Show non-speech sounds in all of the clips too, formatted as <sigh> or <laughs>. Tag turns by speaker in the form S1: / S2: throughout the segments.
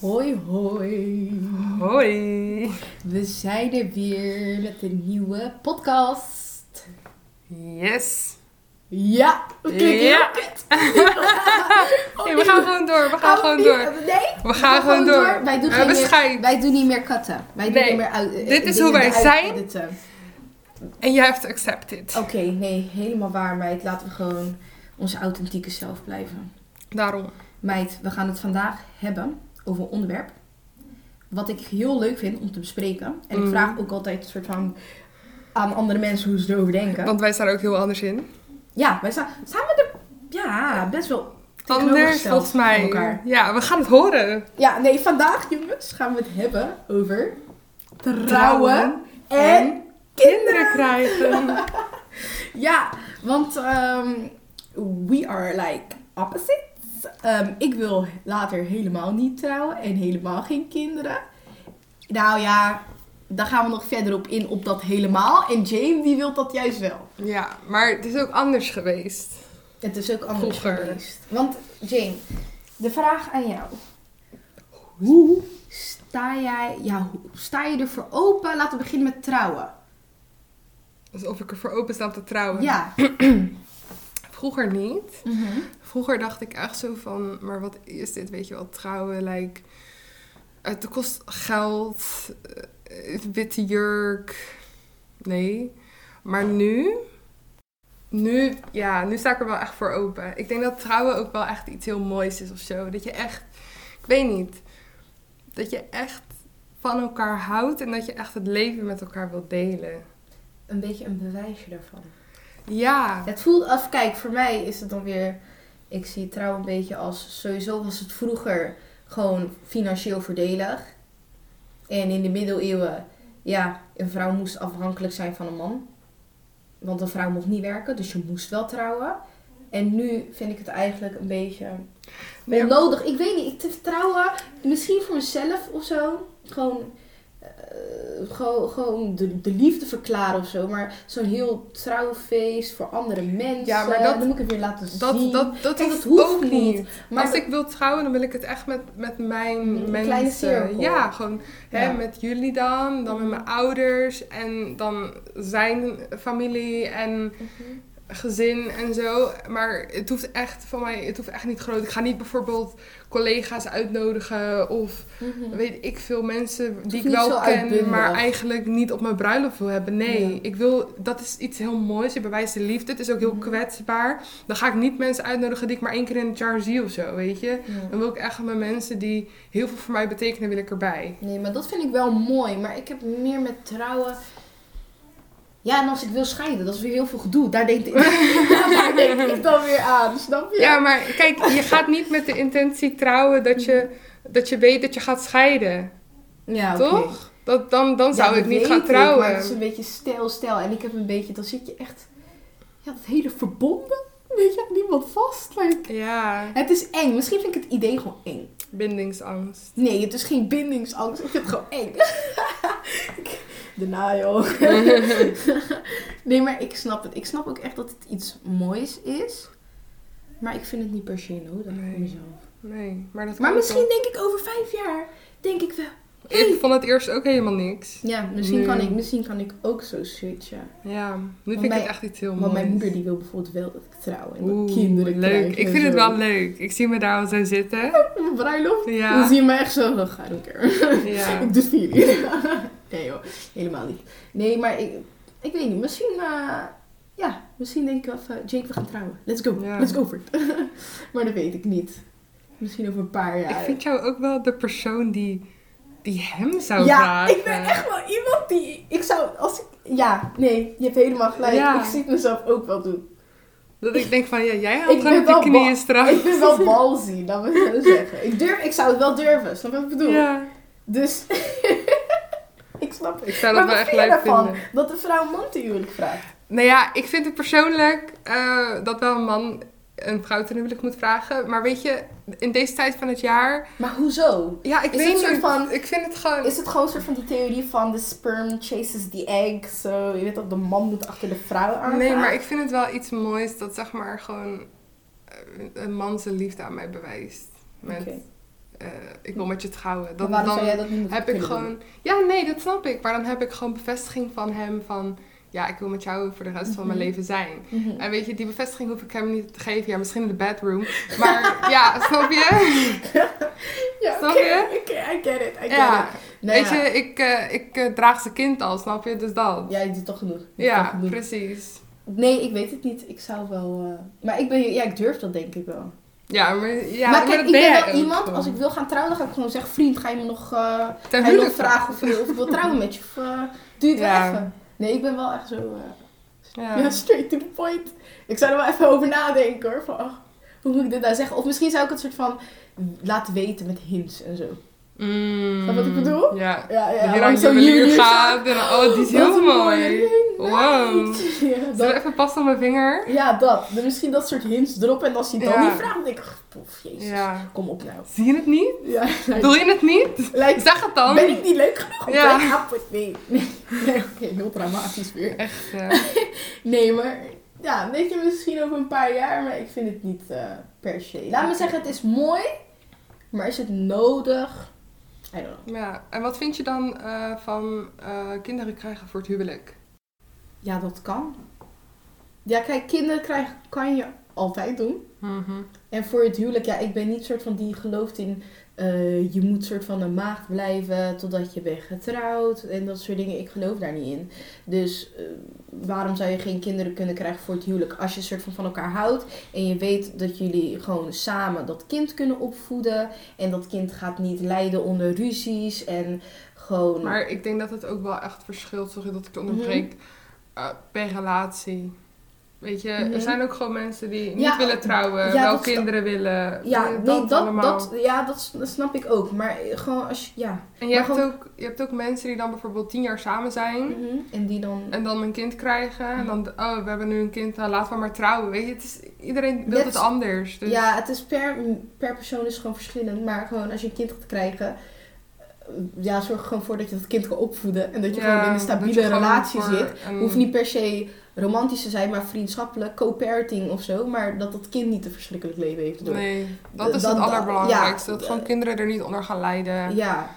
S1: Hoi, hoi.
S2: Hoi.
S1: We zijn er weer met een nieuwe podcast.
S2: Yes.
S1: Ja, we klikken
S2: Ja.
S1: heel kut.
S2: Hey, we gaan gewoon door. We gaan
S1: Oh,
S2: gewoon
S1: nee,
S2: door.
S1: Nee,
S2: We gaan gewoon door.
S1: Wij doen,
S2: Eh,
S1: geen meer,
S2: bescheid.
S1: wij doen niet meer katten. Wij doen
S2: Nee,
S1: niet meer uit- eh,
S2: dit is
S1: dingen
S2: hoe wij
S1: eruit
S2: zijn.
S1: editen.
S2: En you have to accept it.
S1: Oké, nee, helemaal waar, meid. Laten we gewoon onze authentieke zelf blijven.
S2: Daarom.
S1: Meid, we gaan het vandaag hebben over een onderwerp. Wat ik heel leuk vind om te bespreken. En ik
S2: Mm.
S1: vraag ook altijd een soort van aan andere mensen hoe ze erover denken.
S2: Want wij staan er ook heel anders in.
S1: Ja, wij staan, staan we er ja, best wel
S2: Anders
S1: tegenovergesteld
S2: volgens
S1: van
S2: mij.
S1: elkaar.
S2: Ja, we gaan het horen.
S1: Ja, nee, vandaag jongens gaan we het hebben over trouwen, en
S2: en
S1: kinderen.
S2: Kinderen krijgen.
S1: Ja, want ehm, we are like opposites. Ehm, ik wil later helemaal niet trouwen en helemaal geen kinderen. Nou ja, daar gaan we nog verder op in op dat helemaal. En James die wil dat juist wel.
S2: Ja, maar het is ook anders geweest.
S1: Het is ook anders
S2: Vroeger.
S1: geweest. Want Jane, de vraag aan jou. Hoe sta jij, ja, hoe sta je ervoor open? Laten we beginnen met trouwen.
S2: Alsof ik ervoor open sta om te trouwen.
S1: Ja.
S2: Vroeger niet.
S1: Mhm.
S2: Vroeger dacht ik echt zo van, maar wat is dit? Weet je wel, trouwen, like, het kost geld, eh, witte jurk, nee. Maar nu, nu, ja, nu sta ik er wel echt voor open. Ik denk dat trouwen ook wel echt iets heel moois is of zo. Dat je echt, ik weet niet, dat je echt van elkaar houdt en dat je echt het leven met elkaar wilt delen.
S1: Een beetje een bewijsje daarvan.
S2: Ja,
S1: Het voelt af, kijk, voor mij is het dan weer. Ik zie trouw een beetje als. Sowieso was het vroeger gewoon financieel voordelig. En in de middeleeuwen, ja, een vrouw moest afhankelijk zijn van een man. Want een vrouw mocht niet werken, dus je moest wel trouwen. En nu vind ik het eigenlijk een beetje
S2: Ja.
S1: onnodig. Ik weet niet, ik te trouwen, misschien voor mezelf of zo. Gewoon, eh, gewoon, gewoon de, de liefde verklaren of zo. Maar zo'n heel trouwfeest voor andere mensen.
S2: Ja, maar dat-
S1: dan moet ik het weer laten zien.
S2: dat, dat, dat
S1: Kijk,
S2: hoeft,
S1: dat hoeft
S2: ook
S1: niet.
S2: niet.
S1: maar
S2: Als ik wil trouwen, dan wil ik het echt met, met mijn
S1: Met een
S2: mensen.
S1: kleine cirkel.
S2: Ja, gewoon
S1: Ja. Mhm.
S2: Hè, met jullie dan, dan met mijn ouders en dan zijn familie en
S1: Mhm.
S2: gezin en zo. Maar het hoeft echt van mij, het hoeft echt niet groot. Ik ga niet bijvoorbeeld collega's uitnodigen of
S1: Mhm.
S2: weet ik veel mensen die ik
S1: niet zo
S2: wel ken, maar
S1: uitbundig.
S2: eigenlijk niet op mijn bruiloft wil hebben. Nee,
S1: Ja.
S2: ik wil, dat is iets heel moois. Je bewijst de liefde. Het is ook heel
S1: Mhm.
S2: kwetsbaar. Dan ga ik niet mensen uitnodigen die ik maar één keer in het jaar zie of zo, weet je.
S1: Ja.
S2: Dan wil ik echt mijn mensen die heel veel voor mij betekenen, wil ik erbij.
S1: Nee, maar dat vind ik wel mooi. Maar ik heb meer met trouwen. Ja, en als ik wil scheiden, dat is weer heel veel gedoe. Daar
S2: <laughs>
S1: denk ik, <laughs> daar denk ik dan weer aan, snap je?
S2: Ja, maar kijk, je gaat niet met de intentie trouwen dat je, dat je weet dat je gaat scheiden,
S1: Ja, oké.
S2: toch? Dat, dan dan zou
S1: Ja,
S2: ik
S1: dat
S2: niet
S1: weet
S2: gaan trouwen.
S1: maar het is een beetje stijl, stijl. En ik heb een beetje, dan zit je echt, ja, dat hele verbonden. Weet je, aan niemand vast. Like.
S2: Ja,
S1: Het is eng. Misschien vind ik het idee gewoon eng.
S2: bindingsangst.
S1: Nee, het is geen bindingsangst. Ik vind het gewoon eng. <laughs> Ik- Daarna, joh. <laughs> nee, maar ik snap het. Ik snap ook echt dat het iets moois is. Maar ik vind het niet per se nodig
S2: Nee.
S1: voor mezelf.
S2: Nee, maar dat
S1: Maar
S2: kan
S1: misschien denk ik over vijf jaar, denk ik wel.
S2: toch? Ik vond het eerst ook helemaal niks.
S1: Ja, misschien,
S2: Nee.
S1: kan, ik, misschien kan ik ook zo switchen.
S2: Ja, nu vind ik
S1: mijn-
S2: het echt iets heel
S1: Want
S2: moois.
S1: mijn moeder die wil bijvoorbeeld wel dat ik trouw en dat ik
S2: Oeh,
S1: kinderen
S2: leuk.
S1: krijg.
S2: ik
S1: en
S2: vind het
S1: zo.
S2: wel leuk. Ik zie me daar al zo zitten.
S1: Op mijn <laughs> bruiloft. Dan
S2: Ja.
S1: zie je me echt zo, oh, ga een keer.
S2: ja.
S1: <laughs> Ik doe het voor jullie. nee joh, helemaal niet. Nee, maar ik, ik weet niet. Misschien, eh, ja, misschien denk ik wel van, Jake, we gaan trouwen. Let's go,
S2: Ja.
S1: let's go for it. <laughs> maar dat weet ik niet. Misschien over een paar jaar.
S2: Ik vind jou ook wel de persoon die, die hem zou
S1: ja,
S2: vragen.
S1: ik ben echt wel iemand die, ik zou, als ik, ja, nee, je hebt helemaal gelijk.
S2: Ja.
S1: Ik zie het mezelf ook wel doen.
S2: Dat ik denk van, ja, jij
S1: Ik
S2: had gewoon
S1: ben
S2: op je
S1: wel
S2: knieën
S1: ba-
S2: straks.
S1: Ik ben wel balzy, dat wil ik zo zeggen. Ik, durf, ik zou het wel durven, snap je wat ik bedoel?
S2: Ja,
S1: Dus, <laughs> ik snap het.
S2: ik zou
S1: Maar
S2: dat
S1: wat
S2: wel
S1: vind
S2: echt
S1: je
S2: leuk
S1: ervan
S2: vinden.
S1: dat de vrouw een man te huwelijk vraagt?
S2: Nou ja, ik vind het persoonlijk eh, dat wel een man een vrouw ten huwelijk moet vragen. Maar weet je, in deze tijd van het jaar...
S1: Maar hoezo?
S2: Ja, ik
S1: Is
S2: weet
S1: het een
S2: niet.
S1: soort van-
S2: Ik vind het gewoon...
S1: Is het gewoon een soort van die theorie van the sperm chases the egg? Zo, je weet dat de man moet achter de vrouw aan.
S2: Nee, maar ik vind het wel iets moois dat zeg maar gewoon eh, een man zijn liefde aan mij bewijst. Met
S1: Oké.
S2: eh, ik wil met je trouwen. Dan,
S1: maar waarom
S2: dan
S1: zou jij dat niet moeten
S2: heb ik
S1: kunnen doen?
S2: gewoon... Ja, nee, dat snap ik. Maar dan heb ik gewoon bevestiging van hem van... Ja, ik wil met jou voor de rest van mijn
S1: Mhm.
S2: leven zijn. <laughs>
S1: Mhm.
S2: En weet je, die bevestiging hoef ik hem niet te geven. Ja, misschien in de bedroom. Maar ja, <laughs> snap je?
S1: Ja,
S2: Snap
S1: oké,
S2: je?
S1: oké, I get it, I get it.
S2: Ja.
S1: Nou
S2: weet
S1: ja.
S2: je, ik, eh, ik eh, draag zijn kind al, snap je? Dus dat.
S1: Ja, je doet toch genoeg. Je doet toch
S2: Ja,
S1: genoeg.
S2: precies.
S1: Nee, ik weet het niet. Ik zou wel... eh, Maar ik ben... Ja, ik durf dat denk ik wel.
S2: Ja, maar, ja,
S1: maar kijk,
S2: dat
S1: ik ben
S2: jij
S1: wel
S2: ook
S1: iemand...
S2: gewoon.
S1: Als ik wil gaan trouwen, dan ga ik gewoon zeggen... Vriend, ga je me nog... eh, Hij
S2: Ten
S1: wil
S2: huwelijk
S1: vragen of je of ik wil trouwen met je. Of eh, doe je het
S2: Ja.
S1: wel even. Nee, ik ben wel echt zo... eh,
S2: Ja.
S1: Ja, straight to the point. Ik zou er wel even over nadenken hoor. Van, oh, hoe moet ik dit nou zeggen? Of misschien zou ik het soort van laten weten met hints en zo.
S2: Mm.
S1: Snap je wat ik bedoel?
S2: Ja.
S1: Ja, ja.
S2: Hier
S1: lang
S2: aan
S1: zo
S2: juwelier
S1: jullie
S2: gaat. En, oh, die is
S1: Wat
S2: heel
S1: een
S2: mooi.
S1: ring.
S2: Wow.
S1: <laughs> Ja,
S2: Zullen we
S1: dat,
S2: even passen op mijn vinger?
S1: ja, dat. Dan Misschien dat soort hints erop. En als hij dan
S2: Ja.
S1: niet vraagt, dan denk ik, ach, pof, jezus.
S2: Ja.
S1: Kom op nou.
S2: Zie je het niet?
S1: Ja,
S2: Wil je het niet?
S1: lijkt,
S2: Zeg het dan.
S1: ben ik niet leuk genoeg?
S2: Ja.
S1: Ja. Ik hap het niet. <laughs> Nee, nee oké, heel dramatisch weer.
S2: Echt, eh,
S1: Nee, maar ja, weet je, misschien over een paar jaar, maar ik vind het niet eh, per se. Laat me zeggen, het is mooi, maar is het nodig? I don't know.
S2: ja. En wat vind je dan eh, van eh, kinderen krijgen voor het huwelijk?
S1: Ja, dat kan. Ja, kijk, kinderen krijgen kan je altijd doen. En voor het huwelijk, ja, ik ben niet soort van die gelooft in eh, je moet soort van een maagd blijven totdat je bent getrouwd en dat soort dingen. Ik geloof daar niet in. Dus eh, waarom zou je geen kinderen kunnen krijgen voor het huwelijk als je soort van van elkaar houdt en je weet dat jullie gewoon samen dat kind kunnen opvoeden en dat kind gaat niet lijden onder ruzies en gewoon.
S2: Maar ik denk dat het ook wel echt verschilt, sorry dat ik het onderbreek,
S1: Mhm.
S2: eh, per relatie. Weet je,
S1: Mhm.
S2: er zijn ook gewoon mensen die niet
S1: Ja,
S2: willen trouwen,
S1: ja,
S2: wel
S1: dat is-
S2: kinderen willen.
S1: ja,
S2: eh,
S1: nee, dat,
S2: allemaal.
S1: dat, ja, dat s- dat snap ik ook. Maar eh, gewoon als je. Ja.
S2: En je
S1: maar
S2: hebt, ook, je hebt ook mensen die dan bijvoorbeeld tien jaar samen zijn
S1: Mhm. En die dan.
S2: en dan een kind krijgen. En dan, oh, we hebben nu een kind, nou, laten we maar trouwen. Weet je, het is, iedereen wil
S1: Net-
S2: het anders. Dus,
S1: Ja, het is per, per persoon is het gewoon verschillend. Maar gewoon als je een kind gaat krijgen, eh, ja, zorg er gewoon voor dat je dat kind kan opvoeden. En dat je
S2: Ja,
S1: gewoon in een
S2: dat je
S1: stabiele
S2: gewoon
S1: relatie
S2: voor
S1: zit.
S2: een-
S1: Hoeft niet per se romantisch te zijn, maar vriendschappelijk, co-parenting of zo. Maar dat dat kind niet een verschrikkelijk leven heeft door.
S2: Nee, dat is
S1: Dat-
S2: het
S1: dat-
S2: allerbelangrijkste.
S1: ja.
S2: dat gewoon kinderen er niet onder gaan lijden.
S1: Ja.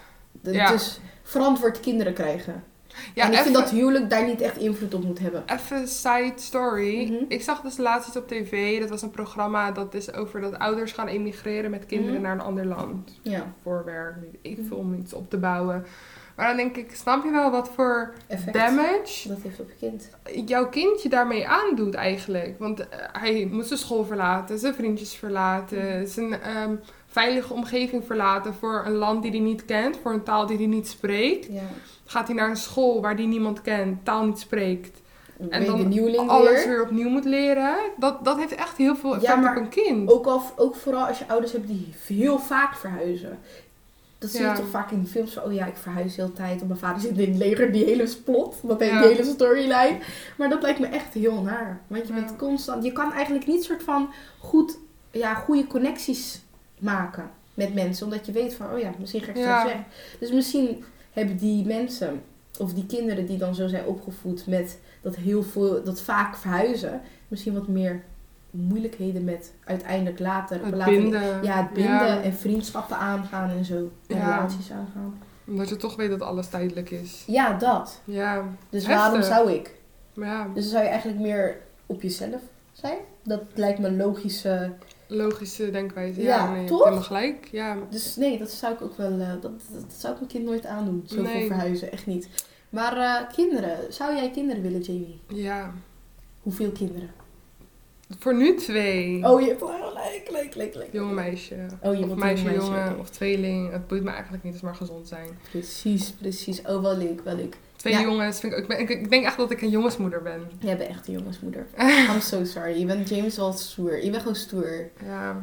S1: D-
S2: Ja.
S1: Dus verantwoord kinderen krijgen.
S2: Ja,
S1: en ik
S2: even-
S1: vind dat huwelijk daar niet echt invloed op moet hebben.
S2: Even side story.
S1: Mhm.
S2: Ik zag dus laatst iets op tv. Dat was een programma dat is over dat ouders gaan emigreren met kinderen
S1: Mhm.
S2: naar een ander land.
S1: Ja,
S2: Voor werk, weet ik veel, om iets op te bouwen. Maar dan denk ik, snap je wel wat voor
S1: effect.
S2: damage
S1: Dat heeft op je kind.
S2: jouw kindje daarmee aandoet eigenlijk? Want eh, hij moet zijn school verlaten, zijn vriendjes
S1: Mhm.
S2: verlaten, zijn ehm, veilige omgeving verlaten voor een land die hij niet kent, voor een taal die hij niet spreekt.
S1: Ja.
S2: Gaat hij naar een school waar hij niemand kent, taal niet spreekt
S1: En dan een nieuweling
S2: alles
S1: weer.
S2: weer. opnieuw moet leren. Dat, dat heeft echt heel veel
S1: Ja,
S2: effect
S1: maar
S2: op een kind.
S1: Ook, al, ook vooral als je ouders hebt die heel vaak verhuizen. Dat zie je
S2: Ja.
S1: toch vaak in films van, oh ja, ik verhuis heel de tijd. En mijn vader zit in het leger, die hele plot, dat heeft
S2: Ja.
S1: die hele storyline. Maar dat lijkt me echt heel naar. Want je
S2: Ja.
S1: bent constant, je kan eigenlijk niet soort van goed, ja, goede connecties maken met mensen. Omdat je weet van, oh ja, misschien ga ik straks
S2: Ja.
S1: weg. Dus misschien hebben die mensen, of die kinderen die dan zo zijn opgevoed met dat heel veel, dat vaak verhuizen. Misschien wat meer moeilijkheden met uiteindelijk later.
S2: het
S1: later-
S2: binden.
S1: ja, het binden
S2: Ja.
S1: en vriendschappen aangaan en zo. En
S2: Ja.
S1: relaties aangaan.
S2: Omdat je toch weet dat alles tijdelijk is.
S1: Ja, dat.
S2: Ja,
S1: Dus
S2: Heftig.
S1: waarom zou ik?
S2: maar ja,
S1: Dus dan zou je eigenlijk meer op jezelf zijn. Dat lijkt me een logische.
S2: logische denkwijze. Ja,
S1: Ja,
S2: nee, je hebt
S1: toch?
S2: helemaal gelijk. Ja.
S1: Dus nee, dat zou ik ook wel. eh, dat, dat zou ik mijn kind nooit aandoen. Zoveel
S2: Nee.
S1: verhuizen, echt niet. Maar eh, kinderen. Zou jij kinderen willen, Jamie?
S2: ja,
S1: Hoeveel kinderen?
S2: voor nu twee.
S1: Oh, je hebt wel gelijk, leuk, leuk, leuk.
S2: Jonge meisje.
S1: Oh, je
S2: Of
S1: wilt
S2: meisje,
S1: een
S2: jongen,
S1: oké.
S2: of tweeling. Het boeit me eigenlijk niet, het is maar gezond zijn.
S1: Precies, precies. Oh, wel leuk, wel leuk.
S2: Twee
S1: Ja.
S2: jongens, vind ik, ik, ben, ik, ik denk echt dat ik een jongensmoeder ben.
S1: Jij bent echt een
S2: <laughs>
S1: jongensmoeder. I'm so sorry. Je bent James wel stoer. Je bent gewoon stoer.
S2: Ja.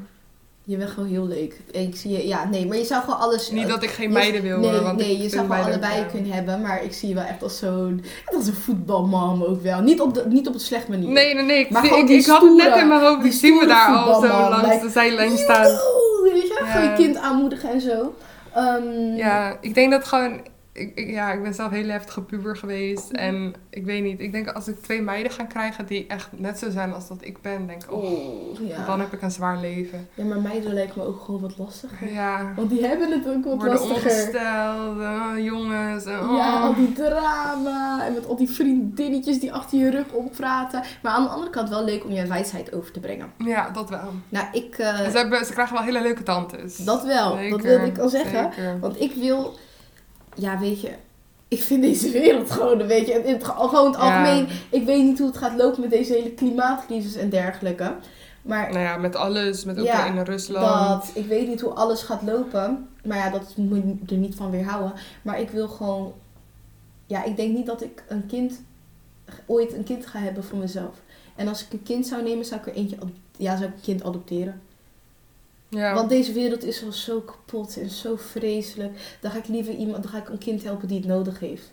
S1: Je bent gewoon heel leuk. Ik zie je, ja, nee, maar je zou gewoon alles...
S2: Niet dat ik geen
S1: Dus, eh, je-
S2: meiden wil,
S1: Nee,
S2: hoor, want
S1: nee
S2: ik
S1: je
S2: vind
S1: zou gewoon
S2: meiden-
S1: allebei
S2: ja.
S1: kunnen hebben, maar ik zie je wel echt als zo'n... Als een voetbalmam ook wel. Niet op, de, niet op het slecht manier.
S2: Nee, nee, nee. Ik,
S1: Maar
S2: zie-
S1: gewoon
S2: ik,
S1: die
S2: ik had het net
S1: stoere-
S2: in mijn hoofd.
S1: die
S2: Ik zie me
S1: stoere
S2: daar al zo
S1: voetbalman,
S2: langs
S1: like,
S2: de zijlijn
S1: Joehoe!
S2: staan.
S1: Weet je,
S2: Ja.
S1: gewoon je kind aanmoedigen en zo. Ehm,
S2: Ja, ik denk dat gewoon ik, ik- ja, ik ben zelf heel heftige puber geweest.
S1: Mhm.
S2: En ik weet niet, ik denk als ik twee meiden ga krijgen die echt net zo zijn als dat ik ben, denk ik, oh,
S3: Oeh.
S1: Ja.
S2: dan heb ik een zwaar
S1: <laughs>
S2: leven.
S3: Ja, maar meiden lijkt me ook gewoon wat lastiger.
S2: Ja,
S3: Want die hebben het ook wat
S2: worden
S3: lastiger.
S2: ongesteld, eh, jongens. en
S3: Ja,
S2: oh.
S3: al die drama en met al die vriendinnetjes die achter je rug oppraten.
S1: Maar aan de andere kant wel leuk om je wijsheid over te brengen.
S2: Ja, dat wel.
S1: Nou, ik... eh,
S2: En ze, hebben, ze krijgen wel hele leuke tantes.
S1: dat wel. dat
S2: Zeker,
S1: wilde ik al zeggen.
S2: zeker.
S1: Want ik wil... Ja, weet je... Ik vind deze wereld gewoon een beetje... In het, ge- gewoon het
S2: Ja.
S1: algemeen... Ik weet niet hoe het gaat lopen met deze hele klimaatcrisis en dergelijke. Maar
S2: Nou ja, met alles, met
S1: Ja,
S2: Oekraïne en Rusland.
S1: dat... Ik weet niet hoe alles gaat lopen. Maar ja, dat moet je er niet van weerhouden. Maar ik wil gewoon... Ja, ik denk niet dat ik een kind... Ooit een kind ga hebben voor mezelf. En als ik een kind zou nemen, zou ik er eentje... ad- Ja, zou ik een kind adopteren.
S2: Ja.
S1: Want deze wereld is al zo kapot en zo vreselijk. Dan ga ik liever iemand, dan ga ik een kind helpen die het nodig heeft.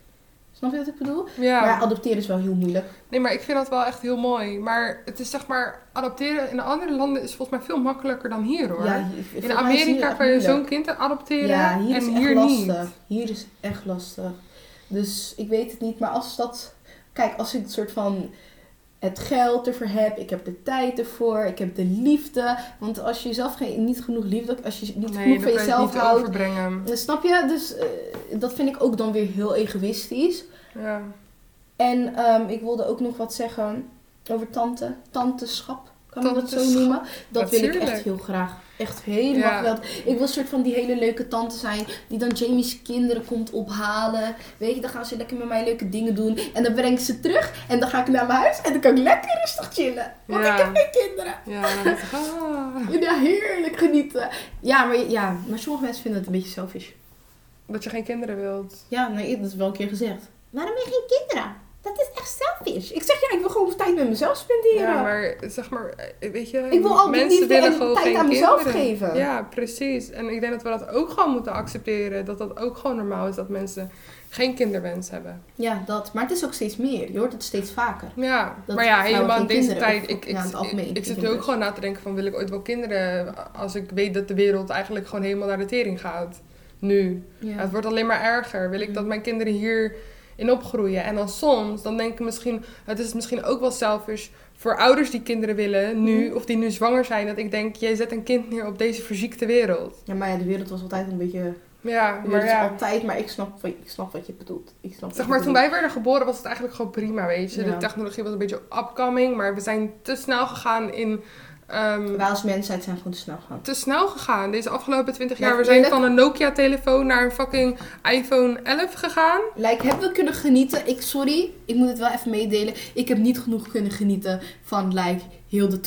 S1: Snap je wat ik bedoel?
S2: ja.
S1: Maar adopteren is wel heel moeilijk.
S2: Nee, maar ik vind dat wel echt heel mooi. Maar het is zeg maar, adopteren in andere landen is volgens mij veel makkelijker dan hier hoor.
S1: Ja, hier- volgens mij is het hier
S2: in Amerika
S1: echt
S2: kan je
S1: moeilijk.
S2: zo'n kind adopteren
S1: Ja, hier is
S2: en
S1: echt
S2: hier
S1: lastig.
S2: niet.
S1: Hier is echt lastig. Dus ik weet het niet, maar als dat... Kijk, als ik het soort van het geld ervoor heb, ik heb de tijd ervoor, ik heb de liefde. Want als je jezelf geen, niet genoeg liefde, als je niet
S2: nee,
S1: genoeg van
S2: dan kan je het
S1: jezelf
S2: niet
S1: houdt...
S2: overbrengen.
S1: Snap je? Dus eh, dat vind ik ook dan weer heel egoïstisch.
S2: Ja.
S1: En ehm, ik wilde ook nog wat zeggen over tante. Tanteschap, kan ik dat zo
S2: Tanteschap,
S1: noemen? Dat wil ik echt
S2: natuurlijk.
S1: heel graag. Echt helemaal
S2: Ja.
S1: geweldig. Ik wil een soort van die hele leuke tante zijn. Die dan Jamie's kinderen komt ophalen. Weet je, dan gaan ze lekker met mij leuke dingen doen. En dan breng ik ze terug. En dan ga ik naar mijn huis. En dan kan ik lekker rustig chillen. Want
S2: Ja.
S1: ik heb geen kinderen.
S2: Ja, dan denk ik, ah,
S1: Ja, heerlijk genieten. Ja maar, ja, maar sommige mensen vinden het een beetje selfish.
S2: dat je geen kinderen wilt.
S1: Ja, nee, dat is wel een keer gezegd. Waarom heb je geen kinderen? Dat is echt selfish. Ik zeg ja, ik wil gewoon tijd met mezelf spenderen.
S2: Ja, maar zeg maar, eh, weet je,
S1: Ik wil al die
S2: mensen
S1: liefde
S2: willen
S1: en
S2: gewoon
S1: tijd
S2: geen
S1: aan mezelf
S2: kinderen.
S1: geven.
S2: Ja, precies. En ik denk dat we dat ook gewoon moeten accepteren. Dat dat ook gewoon normaal is dat mensen geen kinderwens hebben.
S1: Ja, dat. Maar het is ook steeds meer. Je hoort het steeds vaker.
S2: Ja,
S1: Dat
S2: maar ja,
S1: vrouwen
S2: helemaal
S1: geen
S2: in deze
S1: kinderen
S2: tijd.
S1: opvoeden.
S2: Ik, ik,
S1: Ja, in het algemeen,
S2: ik,
S1: ik
S2: zit
S1: denk
S2: nu ook
S1: dus.
S2: gewoon na te denken van wil ik ooit wel kinderen als ik weet dat de wereld eigenlijk gewoon helemaal naar de tering gaat. Nu. Ja, het wordt alleen maar erger. Wil
S1: Mm.
S2: ik dat mijn kinderen hier in opgroeien? En dan soms, dan denk ik misschien, het is misschien ook wel selfish voor ouders die kinderen willen nu,
S1: Mm.
S2: of die nu zwanger zijn, dat ik denk, jij zet een kind neer op deze verziekte wereld.
S1: Ja, maar ja, de wereld was altijd een beetje...
S2: Ja,
S1: De
S2: maar
S1: wereld is
S2: ja.
S1: altijd, maar ik snap, wat- ik snap wat je bedoelt. Ik snap
S2: Zeg
S1: wat
S2: maar,
S1: je
S2: toen
S1: bedoelt.
S2: wij werden geboren was het eigenlijk gewoon prima, weet je. De
S1: Ja.
S2: technologie was een beetje upcoming, maar we zijn te snel gegaan in... ehm,
S1: Wij als mensheid zijn gewoon te snel gegaan.
S2: te snel gegaan deze afgelopen 20
S1: Ja,
S2: jaar. We zijn
S1: eerlijk.
S2: van een Nokia-telefoon naar een fucking iPhone 11 gegaan.
S1: Like, hebben we kunnen genieten? Ik, sorry, ik moet het wel even meedelen. Ik heb niet genoeg kunnen genieten van, like, heel de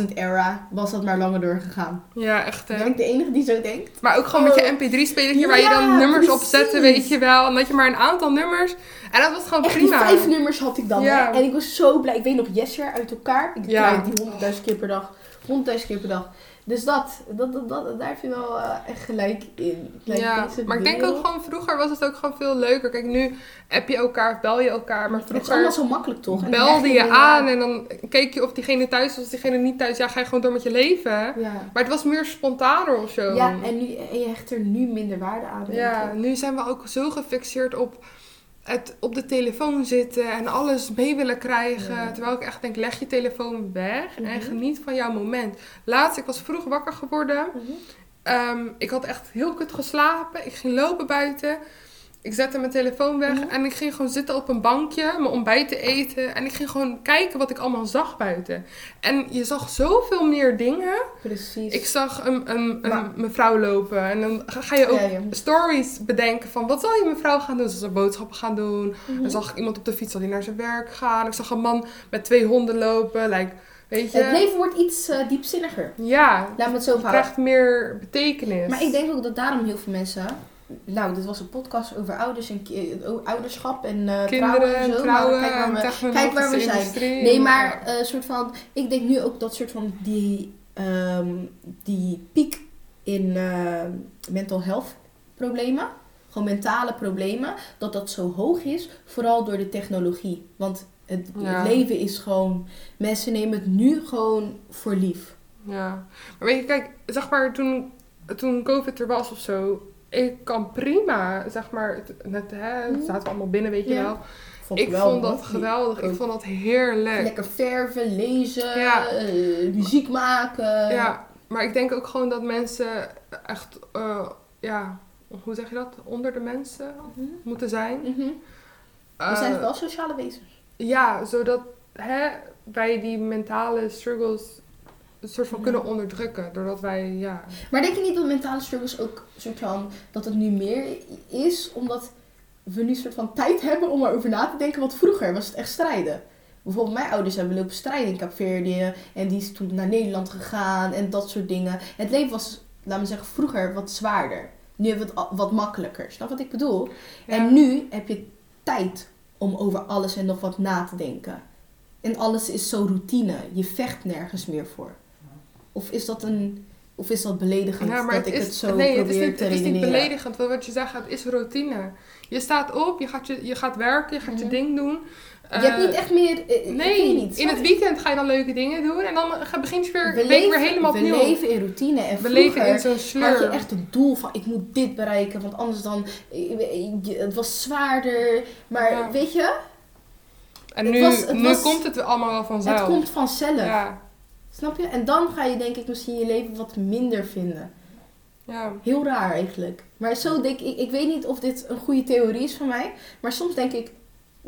S1: 2000-era. Was dat maar langer doorgegaan.
S2: Ja, echt
S1: Ben
S2: hè.
S1: ik de enige die zo denkt?
S2: Maar ook gewoon met je mp3-spelertje waar je dan
S1: Oh. Ja,
S2: nummers op zette,
S1: precies.
S2: weet je wel. En dat je maar een aantal nummers... En dat was gewoon
S1: Echt die
S2: Oh, prima.
S1: vijf nummers had ik dan.
S2: Ja.
S1: hè. En ik was zo blij. Ik weet nog Jesser uit elkaar. Ik
S2: Ja.
S1: draai die honderdduizend keer per dag. Honderdduizend keer per dag. Dus dat, dat, dat, dat- daar heb je wel eh, echt gelijk in. Like,
S2: Ja,
S1: deze
S2: maar ik denk ook
S1: wereld.
S2: gewoon vroeer was het ook gewoon veel leuker. Kijk, nu app je elkaar of bel je elkaar. Maar
S1: Het is
S2: vroeger...
S1: allemaal zo makkelijk toch? En
S2: belde
S1: echt
S2: je
S1: inderdaad-
S2: aan en dan keek je of diegene thuis was of diegene niet thuis. Ja, ga je gewoon door met je leven.
S1: Ja.
S2: Maar het was meer spontaner of zo.
S1: Ja, en, nu, en je hecht er nu minder waarde aan. denk
S2: Ja,
S1: ik.
S2: nu zijn we ook zo gefixeerd op het op de telefoon zitten en alles mee willen krijgen.
S1: Ja.
S2: Terwijl ik echt denk, leg je telefoon weg en
S1: Mhm.
S2: geniet van jouw moment. Laatst, ik was vroeg wakker geworden.
S1: Mhm.
S2: Ehm, ik had echt heel kut geslapen. Ik ging lopen buiten. Ik zette mijn telefoon weg
S1: Mhm.
S2: en ik ging gewoon zitten op een bankje, mijn ontbijt te eten. En ik ging gewoon kijken wat ik allemaal zag buiten. En je zag zoveel meer dingen.
S1: Precies.
S2: Ik zag een, een, een
S1: Maar-
S2: mevrouw lopen en dan ga- ga je ook
S1: Ja, ja.
S2: stories bedenken van wat zal je mevrouw gaan doen? Zal ze boodschappen gaan doen?
S1: Mhm.
S2: Dan zag ik iemand op de fiets al die naar zijn werk gaan. Ik zag een man met twee honden lopen. Like, weet je?
S1: Het leven wordt iets eh, diepzinniger.
S2: Ja,
S1: Laat me het zo
S2: het
S1: houden.
S2: krijgt meer betekenis.
S1: Maar ik denk ook dat daarom heel veel mensen. Nou, dit was een podcast over ouders en ki- eh, ouderschap en eh,
S2: Kinderen,
S1: trouwen en zo. maar
S2: trouwen,
S1: kijk waar we-
S2: technologische
S1: kijk waar we zijn.
S2: industrie.
S1: Nee, maar eh, soort van. Ik denk nu ook dat soort van die, ehm, die piek in eh, mental health problemen. Gewoon mentale problemen. Dat dat zo hoog is. Vooral door de technologie. Want het,
S2: Ja.
S1: het leven is gewoon. Mensen nemen het nu gewoon voor lief.
S2: Ja. Maar weet je, kijk, zeg maar, toen, toen COVID er was of zo, ik kan prima, zeg maar, het, net, hè, het
S3: Mhm.
S2: staat allemaal binnen, weet je
S3: Ja.
S2: wel.
S1: Vond
S2: ik vond
S1: geweldig.
S2: dat geweldig, ik
S1: ook.
S2: vond dat heerlijk.
S1: Lekker verven, lezen,
S2: Ja.
S1: eh, muziek maken.
S2: Ja, maar ik denk ook gewoon dat mensen echt, eh, ja, hoe zeg je dat? Onder de mensen moeten zijn.
S1: Mhm.
S2: Eh,
S1: We zijn wel sociale wezens.
S2: Ja, zodat hè, wij die mentale struggles een soort van
S1: Ja.
S2: kunnen onderdrukken. Doordat wij, ja.
S1: Maar denk je niet dat mentale struggles ook soort van dat het nu meer is omdat we nu soort van tijd hebben om erover na te denken? Want vroeger was het echt strijden. Bijvoorbeeld mijn ouders hebben lopen strijden in Cape en die is toen naar Nederland gegaan en dat soort dingen. Het leven was, laten we zeggen, vroeger wat zwaarder. Nu hebben we het al- wat makkelijker. Snap wat ik bedoel?
S2: Ja.
S1: En nu heb je tijd om over alles en nog wat na te denken. En alles is zo routine. Je vecht nergens meer voor. Of is dat een... Of is dat beledigend
S2: Ja, maar
S1: dat
S2: het
S1: ik
S2: is,
S1: het zo
S2: nee, het is
S1: probeer
S2: niet,
S1: te
S2: het is niet
S1: redeneren?
S2: beledigend. want Wat je zegt, het is routine. Je staat op, je gaat, je, je gaat werken, je gaat je
S1: Mhm.
S2: ding doen.
S1: je hebt niet echt meer... eh, eh, ik
S2: Nee,
S1: weet niet,
S2: in het
S1: snap
S2: weekend ga je dan leuke dingen doen. En dan ga- begint je weer,
S1: je?
S2: week weer helemaal
S1: we
S2: opnieuw.
S1: leven in routine. En
S2: We leven
S1: vroeger
S2: in zo'n
S1: had je
S2: sleur.
S1: echt een doel van ik moet dit bereiken. Want anders dan... eh, eh, je- Het was zwaarder. Maar
S2: Ja.
S1: weet je,
S2: En
S1: het
S2: nu,
S1: was- het
S2: nu
S1: was-
S2: komt het allemaal wel vanzelf.
S1: het komt vanzelf.
S2: Ja,
S1: Snap je? En dan ga je denk ik misschien je leven wat minder vinden.
S2: ja.
S1: Heel raar eigenlijk. Maar zo denk ik, ik weet niet of dit een goede theorie is van mij. Maar soms denk ik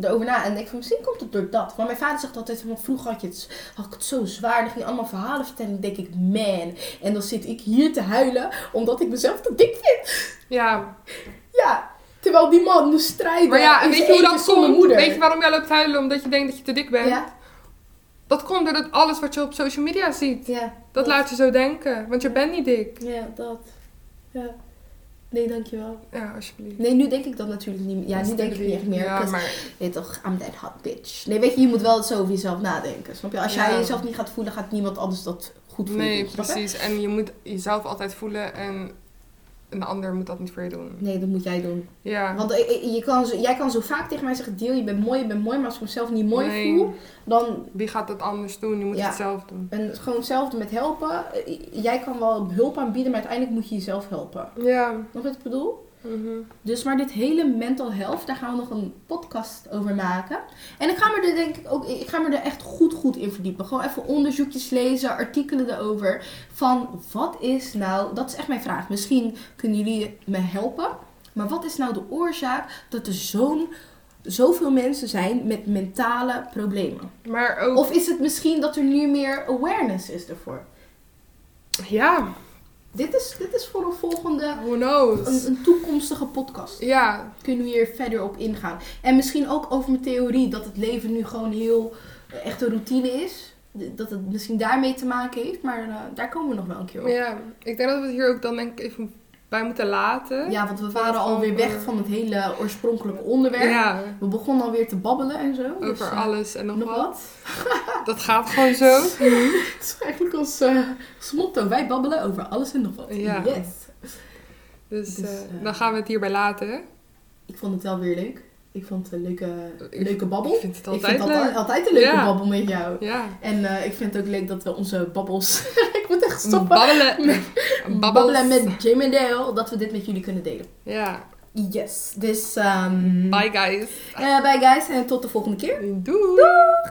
S1: erover na en denk van misschien komt het door dat. Want mijn vader zegt altijd van vroeger had, je het, had ik het zo zwaar. Dan ging je allemaal verhalen vertellen. Dan denk ik man. En dan zit ik hier te huilen omdat ik mezelf te dik vind.
S2: ja.
S1: Ja. Terwijl die man moest strijden.
S2: Maar ja, en
S1: in
S2: weet je
S1: zijn
S2: hoe
S1: eentje
S2: dat
S1: zonder
S2: komt?
S1: moeder.
S2: Weet je waarom jij loopt huilen omdat je denkt dat je te dik bent?
S1: Ja,
S2: Dat komt doordat alles wat je op social media ziet.
S1: ja.
S2: Dat laat je zo denken, want je bent niet dik.
S1: Ja, dat. Ja. Nee, dankjewel.
S2: Ja, alsjeblieft.
S1: Nee, nu denk ik dat natuurlijk niet meer. Ja,
S2: Dat is
S1: nu denk ik niet echt meer.
S2: Ja,
S1: 'cause
S2: maar
S1: Nee, toch, I'm that hot bitch. Nee, weet je, je moet wel zo over jezelf nadenken. Snap je? Als
S2: Ja.
S1: jij jezelf niet gaat voelen, gaat niemand anders dat goed voelen.
S2: nee,
S1: snap je?
S2: precies. En je moet jezelf altijd voelen en een ander moet dat niet voor je doen.
S1: Nee, dat moet jij doen.
S2: Ja.
S1: Want eh, eh, je kan zo, jij kan zo vaak tegen mij zeggen, Deel, je bent mooi, je bent mooi. Maar als ik mezelf niet mooi
S2: Nee.
S1: voel, dan
S2: Wie gaat dat anders doen? Je moet
S1: Ja.
S2: het zelf doen.
S1: en gewoon hetzelfde met helpen. Eh, Jij kan wel hulp aanbieden, maar uiteindelijk moet je jezelf helpen.
S2: Ja.
S1: Snap je wat ik bedoel?
S2: mhm.
S1: Dus maar dit hele mental health, daar gaan we nog een podcast over maken. En ik ga me er denk ik ook, ik ga me er echt goed goed in verdiepen. Gewoon even onderzoekjes lezen, artikelen erover. Van wat is nou, dat is echt mijn vraag. Misschien kunnen jullie me helpen. Maar wat is nou de oorzaak dat er zo'n, zoveel mensen zijn met mentale problemen?
S2: Maar ook...
S1: Of is het misschien dat er nu meer awareness is ervoor?
S2: Ja,
S1: Dit is, dit is voor een volgende,
S2: who
S1: een,
S2: knows?
S1: een toekomstige podcast.
S2: Ja,
S1: kunnen we hier verder op ingaan. En misschien ook over mijn theorie dat het leven nu gewoon heel eh, echt een routine is. D- Dat het misschien daarmee te maken heeft, maar eh, daar komen we nog wel een keer op. Ja,
S2: ja. Ik denk dat we het hier ook dan denk ik even bij moeten laten.
S1: want we waren alweer weg van het hele oorspronkelijke onderwerp.
S2: eh, Ja,
S1: We begonnen alweer te babbelen en zo. dus,
S2: Over
S1: eh,
S2: alles en nog,
S1: Nog Ah.
S2: wat.
S1: wat?
S2: Dat gaat gewoon zo.
S1: <laughs> Het is eigenlijk ons eh ons motto. Wij babbelen over alles en nog wat.
S2: Ja.
S1: Yes.
S2: Dus,
S1: Dus,
S2: eh,
S1: eh,
S2: dan gaan we het hierbij laten.
S1: Ik vond het wel weer leuk. Ik vond het een leuke,
S2: Ik-
S1: leuke babbel.
S2: Ik vind het altijd
S1: ik vind
S2: leuk.
S1: altijd, altijd een leuke
S2: Ja.
S1: babbel met jou.
S2: Ja.
S1: En eh, ik vind het ook leuk dat we onze babbels... <laughs> ik moet echt stoppen.
S2: Babbelen.
S1: <laughs> Met-
S2: Babbels.
S1: babbelen met Jim en Dale, dat we dit met jullie kunnen delen.
S2: Ja.
S1: Yes. Dus, ehm
S2: Bye guys.
S1: eh, bye guys en tot de volgende keer.
S2: Doei.
S1: Doeg!